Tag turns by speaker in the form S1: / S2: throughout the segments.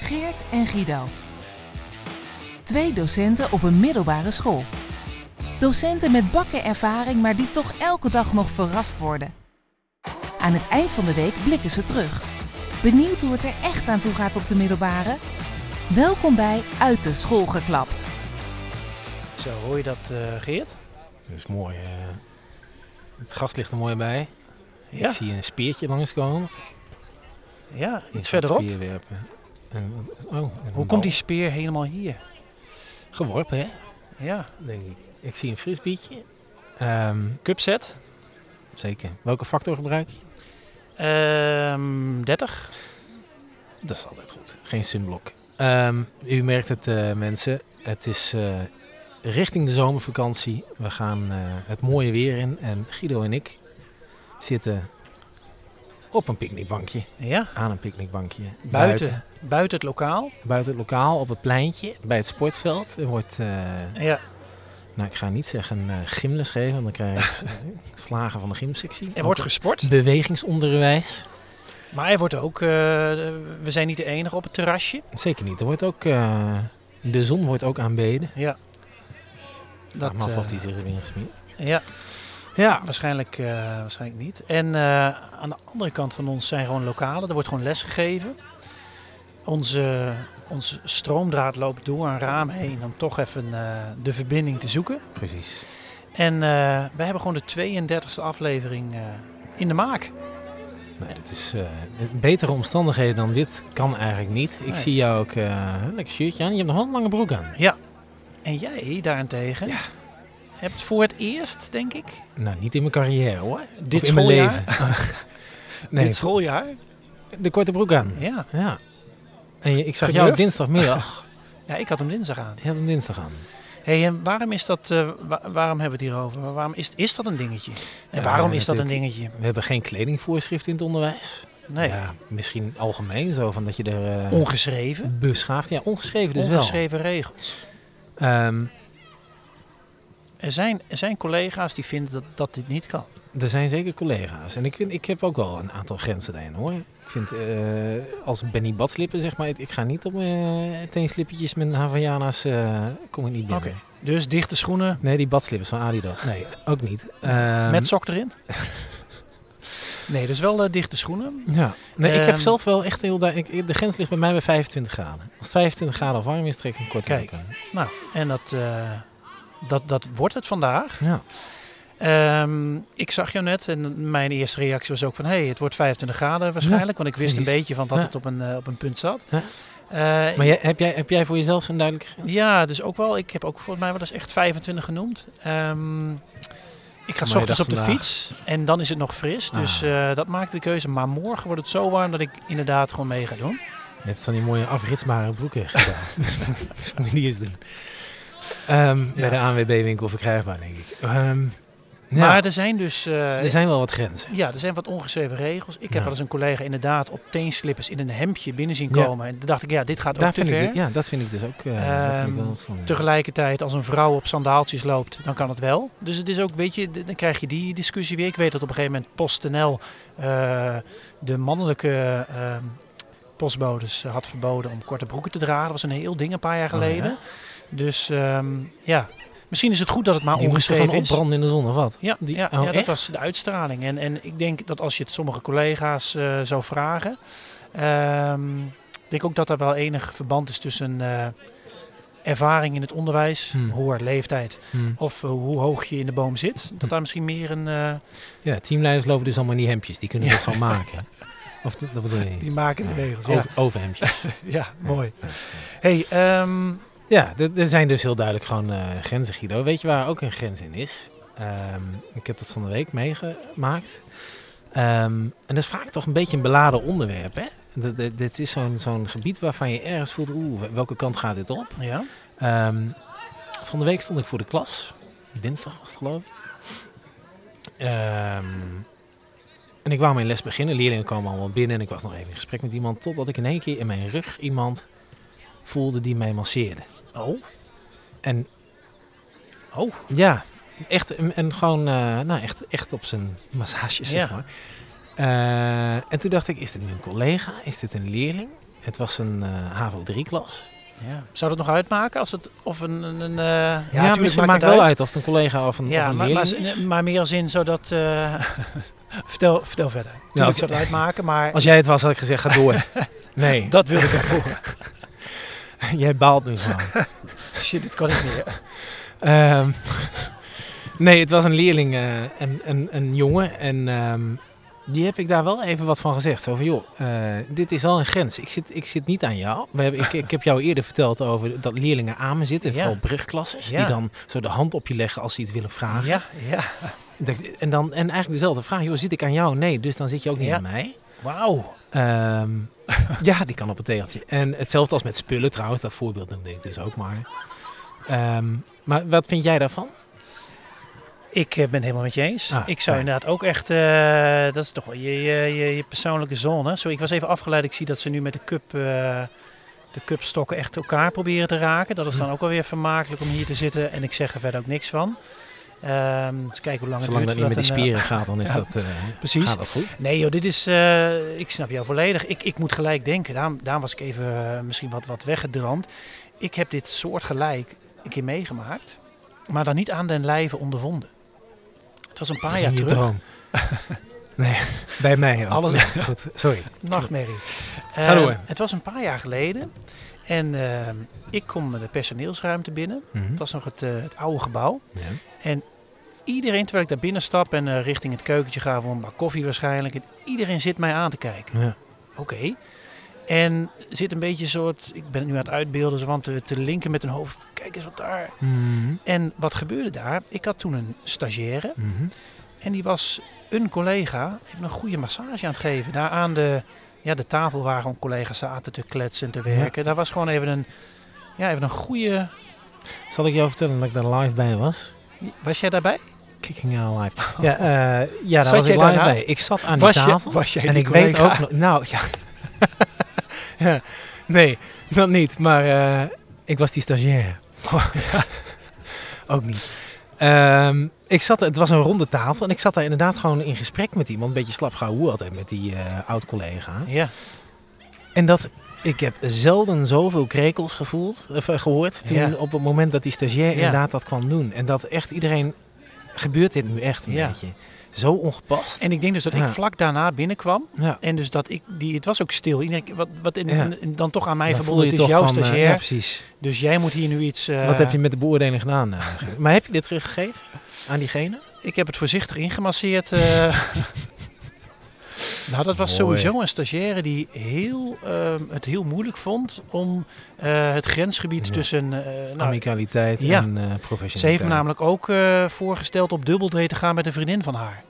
S1: Geert en Guido. Twee docenten op een middelbare school. Docenten met bakken ervaring, maar die toch elke dag nog verrast worden. Aan het eind van de week blikken ze terug. Benieuwd hoe het er echt aan toe gaat op de middelbare? Welkom bij Uit de School geklapt.
S2: Zo, hoor je dat, eh, Geert?
S3: Dat is mooi. eh. het gras ligt er mooi bij.
S2: Ja.
S3: Ik zie een speertje langskomen.
S2: Ja,
S3: Iemand
S2: iets verderop.
S3: Speer werpen. En, wat- oh, en een
S2: Hoe
S3: bal.
S2: komt die speer helemaal hier?
S3: Geworpen, hè?
S2: Ja,
S3: Denk ik. Ik zie een frisbeetje. Ehm cupset. Zeker. Welke factor gebruik je?
S2: Ehm 30.
S3: Dat is altijd goed. Geen sunblok. Ehm, u merkt het, eh, mensen. Het is eh, richting de zomervakantie. We gaan eh, het mooie weer in. En Guido en ik zitten op een picknickbankje.
S2: Ja,
S3: Aan een picknickbankje.
S2: buiten, buiten het lokaal.
S3: Buiten het lokaal, op het pleintje, bij het sportveld. Er wordt, eh,
S2: Ja,
S3: nou ik ga niet zeggen eh gymles geven, want dan krijg je s- slagen van de gymsectie.
S2: er wordt gesport.
S3: Bewegingsonderwijs.
S2: Maar er wordt ook, eh, we zijn niet de enige op het terrasje.
S3: Zeker niet. Er wordt ook, eh, de zon wordt ook aanbeden.
S2: Ja.
S3: Dat, maar af of
S2: eh,
S3: die zich erin gesmeerd.
S2: Ja,
S3: Ja,
S2: waarschijnlijk, eh, waarschijnlijk niet. En eh, aan de andere kant van ons zijn gewoon lokalen. Er wordt gewoon les gegeven. Onze, onze stroomdraad loopt door een raam heen om toch even eh, de verbinding te zoeken.
S3: precies.
S2: En eh wij hebben gewoon de 32e aflevering eh, in de maak.
S3: Nee, dat is eh, betere omstandigheden dan dit kan eigenlijk niet. Ik
S2: Nee.
S3: zie jou ook eh, een lekker shirtje aan. Je hebt nog wel een lange broek aan.
S2: En jij daarentegen hebt voor het eerst, denk ik,
S3: Nou, niet in mijn carrière hoor.
S2: dit
S3: Of in mijn
S2: schooljaar.
S3: leven. nee,
S2: Dit schooljaar?
S3: de korte broek aan.
S2: Ja.
S3: Ja. En je- ik zag jou
S2: Gedurfd?
S3: dinsdagmiddag.
S2: ja, ik had hem dinsdag aan.
S3: Je had hem dinsdag aan.
S2: hey, en waarom is dat, eh, wa- waarom hebben we het hierover? Waarom is, is dat een dingetje? En
S3: Ja,
S2: waarom
S3: we
S2: is
S3: zijn
S2: dat een dingetje?
S3: We hebben geen kledingvoorschrift in het onderwijs.
S2: Nee,
S3: Ja, misschien algemeen zo, van dat je er... eh,
S2: ongeschreven.
S3: beschaafd. Ja, ongeschreven dus
S2: ongeschreven regels.
S3: wel. Ehm,
S2: Er zijn, er zijn collega's die vinden dat, dat dit niet kan.
S3: er zijn zeker collega's. En ik, vind, ik heb ook wel een aantal grenzen daarin hoor. Ik vind eh, als Benny Badslippen zeg maar, ik ik ga niet op mijn eh, teenslippertjes met Havaianas, eh, kom ik niet binnen.
S2: Oké. Dus dichte schoenen
S3: Nee, die badslippers van Adidas. Nee, ook niet. Ehm,
S2: met sok erin. nee, dus wel eh, dichte schoenen.
S3: Ja, nee, ik heb
S2: Ehm,
S3: zelf wel echt heel duidelijk. De grens ligt bij mij bij 25 graden. Als het 25 graden of warm is, trek ik een korte
S2: Kijk.
S3: broek aan.
S2: Nou, en dat, eh, dat, dat wordt het vandaag.
S3: Ja,
S2: Ehm, ik zag jou net en mijn eerste reactie was ook van... hé, hey, het wordt 25 graden waarschijnlijk. want ik wist een
S3: precies.
S2: beetje van dat
S3: Ja.
S2: het op een, eh, op een punt zat.
S3: Ja.
S2: Eh,
S3: maar jij, heb, jij, heb jij voor jezelf zo'n duidelijke grens?
S2: ja, dus ook wel. Ik heb ook volgens mij wel eens echt 25 genoemd. Ehm, ik ga
S3: Maar
S2: s
S3: je
S2: ochtends op
S3: dacht
S2: de
S3: vandaag-
S2: fiets en dan is het nog fris. Dus
S3: Ah.
S2: eh, dat maakt de keuze. Maar morgen wordt het zo warm dat ik inderdaad gewoon mee ga doen.
S3: Je hebt van die mooie afritsbare broeken gedaan. dus moet je die eens doen. Ehm,
S2: Ja.
S3: Bij de ANWB-winkel verkrijgbaar, denk ik. Ehm, ja,
S2: Maar er zijn dus... eh,
S3: er zijn wel wat grenzen.
S2: Ja, er zijn wat ongeschreven regels. Ik heb
S3: Ja.
S2: wel eens een collega inderdaad op teenslippers in een hemdje binnen zien
S3: Ja.
S2: komen. En toen dacht ik, ja, dit gaat ook
S3: Daar
S2: te
S3: vind ik,
S2: ver.
S3: dit- ja, dat vind ik dus ook. eh, daar vind ik wel
S2: Ehm,
S3: wat van, ja.
S2: Tegelijkertijd, als een vrouw op sandaaltjes loopt, dan kan het wel. Dus het is ook, weet je, d- dan krijg je die discussie weer. Ik weet dat op een gegeven moment PostNL eh, de mannelijke ehm, postbodes had verboden om korte broeken te dragen. Dat was een heel ding een paar jaar
S3: Oh, ja.
S2: geleden. Dus ehm, ja, misschien is het goed dat het maar
S3: die moesten
S2: ongeschreven
S3: gewoon
S2: is.
S3: opbranden in de zon of wat?
S2: Ja,
S3: Die-
S2: ja,
S3: oh,
S2: ja dat
S3: echt?
S2: was de uitstraling. En, en ik denk dat als je het sommige collega's eh, zou vragen, ehm, ik denk ook dat er wel enig verband is tussen eh, ervaring in het onderwijs,
S3: Hmm.
S2: hoor, leeftijd,
S3: Hm.
S2: of eh, hoe hoog je in de boom
S3: Hmm.
S2: zit. Dat daar misschien meer een, eh,
S3: Ja, teamleiders lopen dus allemaal in die hemdjes. Die kunnen
S2: Ja.
S3: dat gewoon maken. Of dat dat bedoel je?
S2: die maken de
S3: Ja,
S2: regels. Ja,
S3: Over, overhemdjes.
S2: ja mooi. Hey, ehm,
S3: Ja, er er zijn dus heel duidelijk gewoon eh, grenzen, Guido. Weet je waar ook een grens in is? Ehm, ik heb dat van de week meegemaakt. Ehm, en dat is vaak toch een beetje een beladen onderwerp, hè? Dat- dat- Dit is zo'n zo'n gebied waarvan je ergens voelt, oeh, welke kant gaat dit op?
S2: ja,
S3: Ehm, van de week stond ik voor de klas. Dinsdag was het, geloof ik. Ehm, en ik wou mijn les beginnen. Leerlingen kwamen allemaal binnen en ik was nog even in gesprek met iemand. Totdat ik in één keer in mijn rug iemand voelde die mij masseerde.
S2: oh,
S3: En
S2: oh,
S3: ja, echt, en, en gewoon eh, nou, echt, echt op zijn massage, zeg
S2: Ja.
S3: maar. Eh, en toen dacht ik, is dit nu een collega? Is dit een leerling? Het was een eh, HAVO 3-klas.
S2: Ja. Zou dat nog uitmaken als het of een, een, een eh, ja,
S3: Ja,
S2: natuurlijk
S3: misschien maakt het wel uit of het een collega of een, of
S2: Ja,
S3: een
S2: maar,
S3: leerling
S2: maar,
S3: is.
S2: maar meer als in zodat. eh, vertel, vertel verder. Ja, ik
S3: als-
S2: zou het uitmaken, maar
S3: Als jij het was, had ik gezegd, ga door. Nee,
S2: dat wil ik ook horen.
S3: jij baalt nu gewoon.
S2: Shit, dit kan ik meer.
S3: Ehm, nee, het was een leerling, eh, een, een, een jongen. En ehm, die heb ik daar wel even wat van gezegd. Zo van, joh, eh, dit is wel een grens. Ik zit, ik zit niet aan jou. We hebben, ik, ik heb jou eerder verteld over dat leerlingen aan me zitten.
S2: Ja.
S3: Vooral brugklasses.
S2: Ja.
S3: Die dan zo de hand op je leggen als ze iets willen vragen.
S2: Ja, ja.
S3: Dat ik- En, dan, en eigenlijk dezelfde vraag. Joh, zit ik aan jou? Nee, dus dan zit je ook niet
S2: Ja.
S3: aan mij.
S2: Wauw.
S3: Ehm, ja, die kan op een tegeltje. En hetzelfde als met spullen trouwens. Dat voorbeeld noemde ik dus ook maar. Ehm, maar wat vind jij daarvan?
S2: Ik eh, ben het helemaal met je eens.
S3: Ah,
S2: ik zou
S3: fijn.
S2: inderdaad ook echt, eh, dat is toch wel je, je, je, je persoonlijke zone. Zo, ik was even afgeleid. Ik zie dat ze nu met de cup, eh, de cupstokken echt elkaar proberen te raken.
S3: Hm.
S2: Dat is dan ook alweer vermakelijk om hier te zitten. En ik zeg er verder ook niks van. Ehm eens kijken hoe lang
S3: Zolang dat
S2: het
S3: niet
S2: duurt.
S3: met die
S2: voordat een, eh,
S3: spieren gaat, dan is
S2: ja,
S3: dat, eh,
S2: precies.
S3: gaat dat goed.
S2: Nee joh, dit is, eh, ik snap jou volledig. Ik, ik moet gelijk denken, daarom, daarom was ik even eh, misschien wat, wat weggedroomd. Ik heb dit soort gelijk een keer meegemaakt, maar dan niet aan den lijve ondervonden. Het was een paar jaar
S3: In je
S2: terug.
S3: droom. nee, bij mij ook.
S2: Alles-
S3: Nee, goed, sorry.
S2: Nachtmerrie.
S3: Ga
S2: Eh,
S3: door.
S2: het was een paar jaar geleden en eh, ik kom de personeelsruimte binnen.
S3: Mhm.
S2: Het was nog het, eh, het oude gebouw.
S3: Ja.
S2: Iedereen, terwijl ik daar binnen stap en eh, richting het keukentje ga voor een bak koffie waarschijnlijk, en iedereen zit mij aan te kijken.
S3: Ja.
S2: Oké. En zit een beetje een soort, ik ben het nu aan het uitbeelden, zo want te, te linken met een hoofd. Kijk eens wat daar.
S3: Mhm.
S2: En wat gebeurde daar? Ik had toen een stagiaire
S3: Mhm.
S2: en die was een collega even een goede massage aan het geven. Daar aan de, ja, de tafel waar gewoon collega's zaten te kletsen en te werken. Daar was gewoon even een, ja, even een goede...
S3: Zal ik jou vertellen dat ik daar live bij was?
S2: Was jij daarbij?
S3: Kicking out live. Ja, eh, ja daar
S2: Oh.
S3: was
S2: Zat jij
S3: ik live
S2: daarnaast?
S3: bij. Ik zat aan die
S2: was, jij,
S3: tafel.
S2: was jij
S3: en
S2: die
S3: ik weet
S2: collega?
S3: ook nog... Nou, ja. ja. Nee, dat niet. Maar eh, ik was die stagiair.
S2: Oh.
S3: ook niet. Ehm, ik zat, het was een ronde tafel en ik zat daar inderdaad gewoon in gesprek met iemand. Een beetje slapgauw hoe altijd met die eh, oud-collega.
S2: Ja,
S3: En dat, ik heb zelden zoveel krekels gevoeld, of, eh, gehoord toen
S2: Ja.
S3: op het moment dat die stagiair
S2: Ja.
S3: inderdaad dat kwam doen. En dat echt iedereen, gebeurt dit nu echt een
S2: Ja.
S3: beetje? Zo ongepast.
S2: en ik denk dus dat
S3: Ja.
S2: ik vlak daarna binnenkwam.
S3: ja.
S2: En dus dat ik, die, het was ook stil. Iedereen, wat wat in,
S3: Ja.
S2: in- in- dan toch aan mij
S3: Dan voel
S2: verbonden,
S3: je
S2: het is
S3: toch
S2: jouw
S3: van, eh,
S2: stagiair.
S3: ja, precies.
S2: Dus jij moet hier nu iets... eh,
S3: Wat heb je met de beoordeling gedaan? eh, Guus? maar heb je dit teruggegeven aan diegene?
S2: Ik heb het voorzichtig ingemasseerd. eh. nou, dat was
S3: Mooi.
S2: sowieso een stagiaire die heel, ehm, het heel moeilijk vond om eh, het grensgebied
S3: Ja.
S2: tussen... eh nou,
S3: Amicaliteit
S2: ja.
S3: en eh
S2: ze heeft me
S3: professionaliteit.
S2: namelijk ook eh, voorgesteld op dubbeldate te gaan met een vriendin van haar.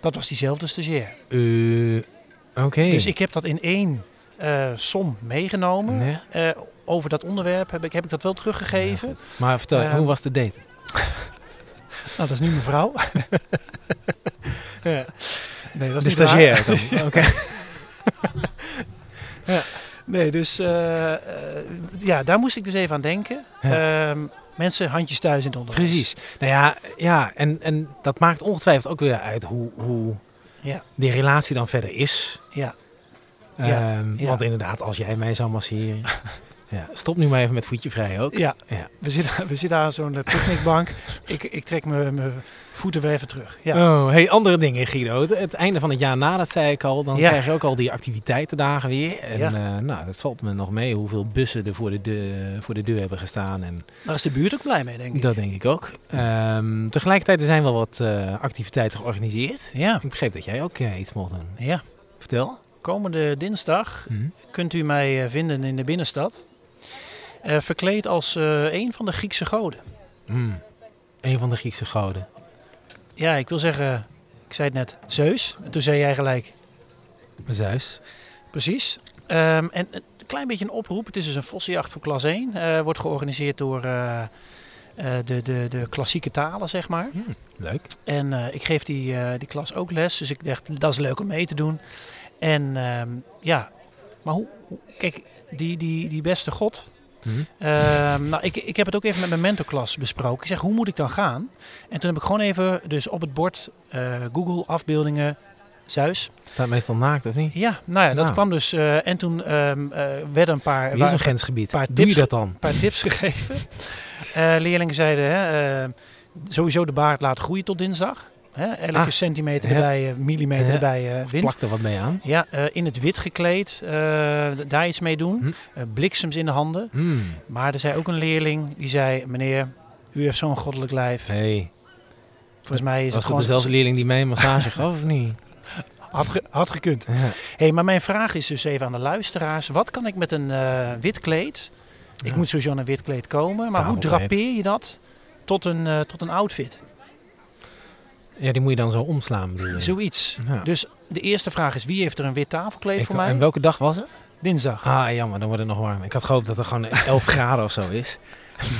S2: Dat was diezelfde stagiair.
S3: Eh, Oké.
S2: Dus ik heb dat in één eh, som meegenomen.
S3: Ja,
S2: Eh, over dat onderwerp heb ik, heb ik dat wel teruggegeven.
S3: ja, goed. maar vertel,
S2: Ehm,
S3: hoe was de date?
S2: Nou, dat is niet mijn vrouw. ja. Nee, dat is
S3: De
S2: niet waar.
S3: stagiair. dan. Oké.
S2: Nee, dus eh, eh, ja, daar moest ik dus even aan denken. Ehm, mensen, handjes thuis in het onderwijs.
S3: Precies. Nou ja, ja en, en dat maakt ongetwijfeld ook weer uit hoe, hoe
S2: Ja.
S3: die relatie dan verder is.
S2: Ja. Ja,
S3: Ehm,
S2: ja.
S3: Want inderdaad, als jij mij zou masseren. ja, stop nu maar even met voetje vrij ook.
S2: Ja,
S3: Ja.
S2: We, zitten, we zitten aan zo'n eh, picknickbank. ik, ik trek mijn mijn voeten weer even terug. Ja.
S3: Oh, hey, andere dingen, Guido. Het- Het einde van het jaar na, dat zei ik al, dan
S2: Ja.
S3: krijg je ook al die activiteitendagen weer. En
S2: Ja.
S3: eh, nou, dat valt me nog mee hoeveel bussen er voor de, deur, voor de deur hebben gestaan. En
S2: Daar is de buurt ook blij mee, denk ik.
S3: dat denk ik ook. Ehm, tegelijkertijd er zijn wel wat eh, activiteiten georganiseerd.
S2: Ja.
S3: Ik begreep dat jij ook eh, iets mocht doen.
S2: ja.
S3: Vertel.
S2: Komende dinsdag
S3: Hm?
S2: kunt u mij eh, vinden in de binnenstad. Eh, verkleed als eh, een van de Griekse goden.
S3: Mm. Een van de Griekse goden.
S2: Ja, ik wil zeggen, ik zei het net, Zeus. En toen zei jij gelijk,
S3: Zeus.
S2: Precies. Ehm, en een klein beetje een oproep. Het is dus een vossenjacht voor klas 1. Eh, wordt georganiseerd door eh, eh, de, de, de klassieke talen, zeg maar.
S3: Mm, Leuk.
S2: En eh, ik geef die, eh, die klas ook les. Dus ik dacht, dat is leuk om mee te doen. En ehm, ja, maar hoe... hoe- Kijk, die, die, die beste god...
S3: Hm?
S2: ehm, nou, ik, ik heb het ook even met mijn mentorklas besproken. Ik zeg, hoe moet ik dan gaan? En toen heb ik gewoon even dus op het bord eh, Google afbeeldingen Zeus.
S3: Staat meestal naakt, of niet?
S2: Ja, nou ja, dat
S3: Nou.
S2: kwam dus. eh, en toen ehm, eh, werden een paar,
S3: Wie is
S2: waren
S3: een grensgebied?
S2: paar
S3: Doe
S2: tips-
S3: je dat dan?
S2: een paar tips gegeven. Eh, leerlingen zeiden hè, eh, sowieso de baard laten groeien tot dinsdag. Hè, elke
S3: Ah.
S2: centimeter
S3: Ja.
S2: erbij, eh, millimeter
S3: Ja.
S2: erbij eh wint.
S3: Plak er wat mee aan.
S2: Ja, eh, in het wit gekleed, eh, d- daar iets mee doen.
S3: Hm.
S2: Eh, bliksems in de handen.
S3: Mm.
S2: Maar er zei ook een leerling die zei: Meneer, u heeft zo'n goddelijk lijf.
S3: Hey,
S2: Volgens mij
S3: was
S2: is het
S3: dat
S2: gewoon.
S3: dezelfde leerling die mij een massage gaf of niet?
S2: Had, ge- had gekund.
S3: Ja.
S2: hey, maar mijn vraag is dus even aan de luisteraars: wat kan ik met een eh, wit kleed? Ik
S3: Ja.
S2: moet sowieso aan een wit kleed komen, maar hoe
S3: Tafelkleed.
S2: drapeer je dat tot een, eh, tot een outfit?
S3: Ja, die moet je dan zo omslaan, bedoel je?
S2: Zoiets.
S3: Ja.
S2: Dus de eerste vraag is: wie heeft er een wit tafelkleed
S3: Ik-
S2: voor mij?
S3: En welke dag was het?
S2: Dinsdag.
S3: Ah, jammer, dan wordt het nog warm. Ik had gehoopt dat er gewoon 11 graden of zo is.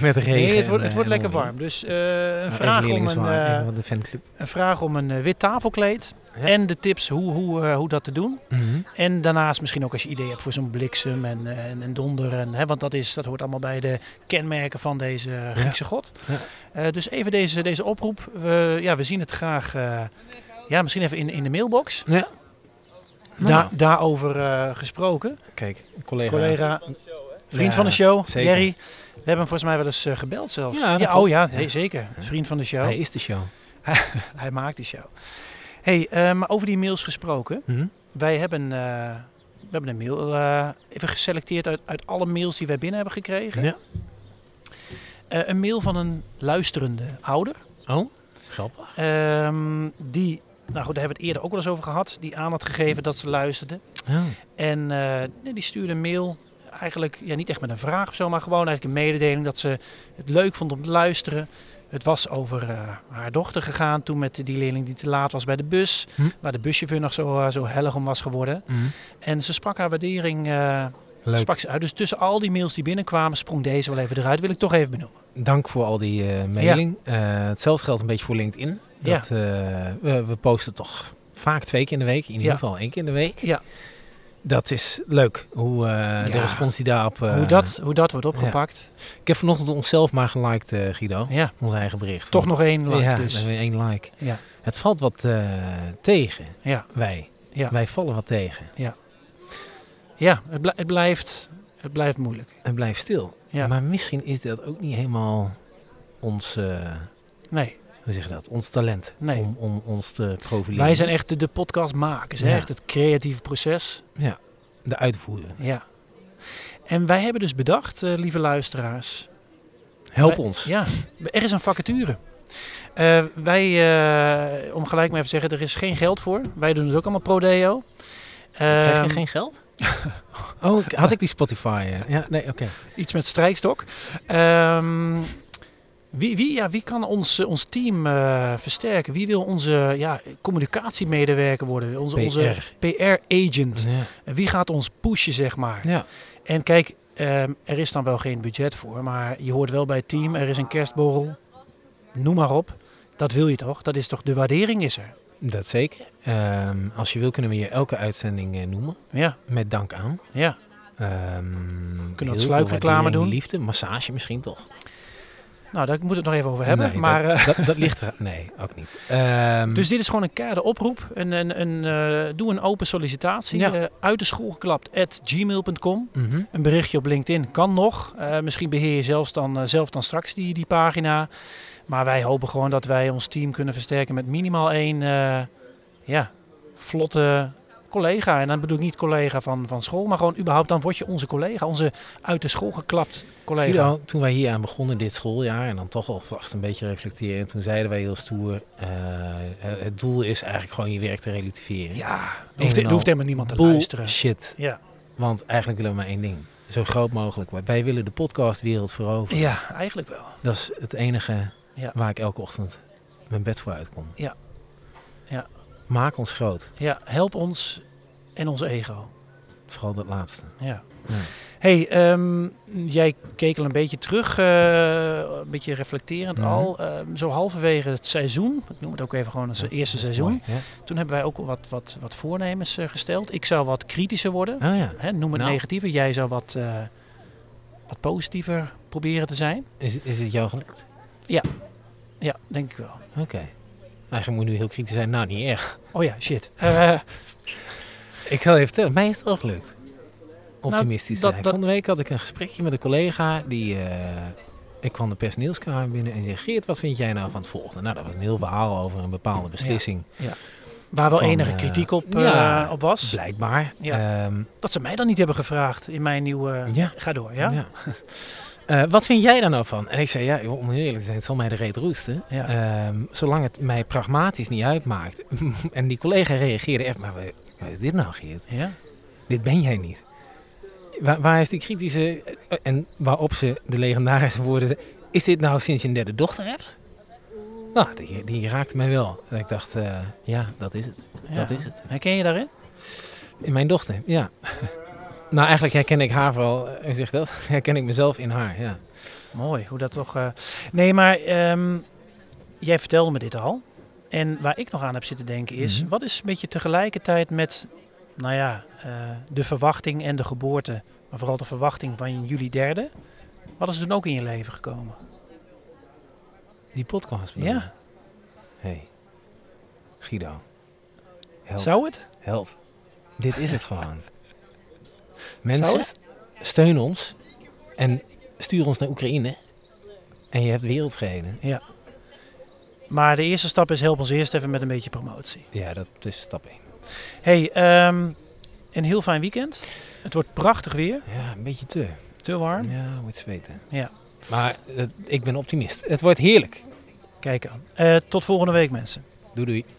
S3: Met regen.
S2: Nee, het wordt,
S3: en,
S2: het wordt
S3: eh,
S2: lekker
S3: en
S2: warm. Dus eh, een,
S3: Even
S2: vraag om
S3: leerlingen
S2: een,
S3: zwaar,
S2: eh,
S3: even wat de fanclub.
S2: een vraag om een eh, wit tafelkleed.
S3: Ja.
S2: En de tips hoe, hoe, eh, hoe dat te doen.
S3: Mhm.
S2: En daarnaast misschien ook als je idee hebt voor zo'n bliksem en, eh, en, en donder. En, hè, want dat, is, dat hoort allemaal bij de kenmerken van deze Griekse god.
S3: Ja.
S2: Eh, dus even deze, deze oproep. We, ja, we zien het graag. eh, ja, misschien even in, in de mailbox.
S3: Ja.
S2: Da-
S3: Nou.
S2: daarover eh, gesproken.
S3: Kijk, een collega.
S2: Collega, vriend
S3: Ja,
S2: van de show,
S3: zeker.
S2: Jerry. We hebben hem volgens mij wel eens eh, gebeld zelfs.
S3: Ja, dat klopt.
S2: oh ja, nee,
S3: Ja.
S2: zeker.
S3: Ja.
S2: Vriend van de show.
S3: Hij is de show.
S2: Hij maakt die show. hey, eh, maar over die mails gesproken.
S3: Mhm.
S2: Wij hebben, eh, we hebben een mail eh, even geselecteerd uit, uit alle mails die wij binnen hebben gekregen.
S3: Ja.
S2: Eh, een mail van een luisterende ouder.
S3: Oh, grappig.
S2: ehm, die, nou goed, daar hebben we het eerder ook wel eens over gehad. Die aan had gegeven dat ze luisterde.
S3: Ja.
S2: En eh, nee, die stuurde een mail. Eigenlijk ja, niet echt met een vraag of zo, maar gewoon eigenlijk een mededeling dat ze het leuk vond om te luisteren. Het was over eh, haar dochter gegaan toen met die leerling die te laat was bij de bus.
S3: Hm.
S2: Waar de buschauffeur nog zo, eh, zo hellig om was geworden.
S3: Mhm.
S2: En ze sprak haar waardering eh,
S3: Leuk.
S2: sprak ze uit. Dus tussen al die mails die binnenkwamen, sprong deze wel even eruit. Wil ik toch even benoemen.
S3: Dank voor al die eh, mailing. Eh, hetzelfde geldt een beetje voor LinkedIn. Dat, eh, we, we posten toch vaak twee keer in de week. In ieder
S2: Ja.
S3: geval één keer in de week.
S2: Ja.
S3: Dat is leuk. Hoe eh, de
S2: Ja.
S3: respons die daarop... eh,
S2: hoe, dat, hoe dat wordt opgepakt.
S3: Ik heb vanochtend onszelf maar geliked, eh, Guido.
S2: Ja,
S3: Ons eigen bericht.
S2: toch nog één like
S3: ja, we
S2: dus.
S3: hebben één like.
S2: Ja.
S3: Het valt wat eh, tegen,
S2: Ja,
S3: wij.
S2: Ja.
S3: Wij vallen wat tegen.
S2: ja het, bl- het, blijft, het blijft moeilijk.
S3: En blijft stil.
S2: Ja.
S3: Maar misschien is dat ook niet helemaal ons, eh,
S2: Nee,
S3: hoe zeg je dat, ons talent.
S2: Nee.
S3: Om, om ons te profileren.
S2: wij zijn echt de, de podcastmakers. hè.
S3: Ja.
S2: Echt het creatieve proces.
S3: de uitvoeren.
S2: Ja. En wij hebben dus bedacht, eh, lieve luisteraars,
S3: Help
S2: Wij-
S3: ons.
S2: Ja, er is een vacature. Eh, wij, eh, om gelijk maar even te zeggen, er is geen geld voor. Wij doen het ook allemaal pro deo.
S3: Krijg
S2: Ehm,
S3: je geen geld? oh, ik- had ik die Spotify? eh, Ja, nee, oké.
S2: Iets met strijkstok. Ehm, wie, wie, ja, wie kan ons, eh, ons team eh, versterken? Wie wil onze ja, communicatiemedewerker worden? Onze, onze
S3: PR.
S2: PR-agent.
S3: Ja.
S2: En Wie gaat ons pushen, zeg maar?
S3: ja.
S2: En kijk, ehm, er is dan wel geen budget voor, maar je hoort wel bij het team, er is een kerstborrel, noem maar op. Dat wil je toch? Dat is toch de waardering is er?
S3: Dat zeker. Ehm, als je wil kunnen we je elke uitzending eh, noemen.
S2: Ja,
S3: Met dank aan. Ehm,
S2: ja.
S3: Kunnen
S2: wat sluikreclame doen?
S3: Liefde, massage misschien toch?
S2: Nou, daar moeten we het nog even over hebben.
S3: Nee,
S2: maar,
S3: dat,
S2: eh,
S3: dat, dat ligt er... Nee, ook niet. Ehm,
S2: dus dit is gewoon een keiharde oproep. Een, een, een, eh, doe een open sollicitatie.
S3: Ja.
S2: eh, uit de school geklapt at gmail.com.
S3: mhm.
S2: Een berichtje op LinkedIn kan nog. Eh, misschien beheer je zelfs dan, eh, zelf dan straks die, die pagina. Maar wij hopen gewoon dat wij ons team kunnen versterken met minimaal één eh, ja, vlotte collega. En dan bedoel ik niet collega van, van school, maar gewoon überhaupt dan word je onze collega. Onze uit de school geklapt collega.
S3: Guido, toen wij hier aan begonnen dit schooljaar en dan toch alvast een beetje reflecteren, toen zeiden wij heel stoer, eh, het doel is eigenlijk gewoon je werk te relativeren.
S2: Ja, er
S3: en
S2: hoeft, er
S3: al
S2: hoeft helemaal niemand te luisteren.
S3: Shit.
S2: Ja.
S3: Want eigenlijk willen we maar één ding. Zo groot mogelijk. Wij willen de podcastwereld veroveren.
S2: ja, eigenlijk wel.
S3: Dat is het enige
S2: Ja.
S3: waar ik elke ochtend mijn bed voor uitkom.
S2: Ja. Ja.
S3: Maak ons groot.
S2: Ja, help ons en ons ego.
S3: Vooral dat laatste.
S2: Ja.
S3: Ja.
S2: Hey, ehm, jij keek al een beetje terug, eh, een beetje reflecterend
S3: Mhm.
S2: al. Ehm, zo halverwege het seizoen, ik noem het ook even gewoon het eerste
S3: Dat is
S2: seizoen.
S3: mooi, hè?
S2: Toen hebben wij ook wat, wat, wat voornemens eh, gesteld. Ik zou wat kritischer worden,
S3: Oh ja.
S2: hè, noem het
S3: Nou.
S2: negatiever. Jij zou wat, eh, wat positiever proberen te zijn.
S3: Is, is het jou gelukt?
S2: Ja, denk ik wel.
S3: Oké. Eigenlijk moet ik nu heel kritisch zijn. Nou, niet echt.
S2: Oh ja, shit. Eh,
S3: Ik zal even vertellen. Mij is het wel gelukt. Optimistisch
S2: Nou, dat-
S3: zijn.
S2: dat-
S3: Van de week had ik een gesprekje met een collega. Die, eh, ik kwam de personeelskamer binnen en zei... Geert, wat vind jij nou van het volgende? Nou, dat was een heel verhaal over een bepaalde beslissing.
S2: waar wel
S3: Van,
S2: enige
S3: eh,
S2: kritiek op,
S3: ja,
S2: eh, op was.
S3: Blijkbaar.
S2: Ja.
S3: Ehm,
S2: Dat ze mij dan niet hebben gevraagd in mijn nieuwe...
S3: ja.
S2: Ga door, ja?
S3: Eh, wat vind jij daar nou van? En ik zei, ja, joh, om heel eerlijk te zijn, het zal mij de reet roesten.
S2: Ja.
S3: Ehm, zolang het mij pragmatisch niet uitmaakt. en die collega reageerde echt, maar wa- wat is dit nou, Geert?
S2: Ja.
S3: Dit ben jij niet. Waar, waar is die kritische... eh, en waarop ze de legendarische woorden... Is dit nou sinds je een derde dochter hebt? Nou, die, die raakte mij wel. En ik dacht, eh, ja, dat is het.
S2: Ja.
S3: Dat is het.
S2: Herken je daarin?
S3: In mijn dochter, ja. nou, eigenlijk herken ik haar vooral... eh, Hoe zeg je dat? Herken ik mezelf in haar, ja.
S2: Mooi, hoe dat toch... eh, Nee, maar ehm, jij vertelde me dit al. En waar ik nog aan heb zitten denken is...
S3: Mhm.
S2: Wat is een beetje tegelijkertijd met... Nou ja, eh, de verwachting en de geboorte. Maar vooral de verwachting van jullie derde. Wat is er toen ook in je leven gekomen?
S3: Die podcast
S2: bedoel
S3: Ja. Hey. Guido. Held.
S2: Zou het?
S3: Held. Dit is het gewoon.
S2: Zou
S3: Mensen,
S2: het?
S3: steun ons. En stuur ons naar Oekraïne. En je hebt wereldvrede.
S2: Maar de eerste stap is help ons eerst even met een beetje promotie.
S3: Ja, dat is stap 1.
S2: hey, ehm, een heel fijn weekend. Het wordt prachtig weer.
S3: Ja, een beetje te.
S2: Te warm.
S3: Ja, moet zweten.
S2: Ja.
S3: Maar eh, ik ben optimist. Het wordt heerlijk.
S2: Kijk aan. Eh, tot volgende week mensen.
S3: Doei doei.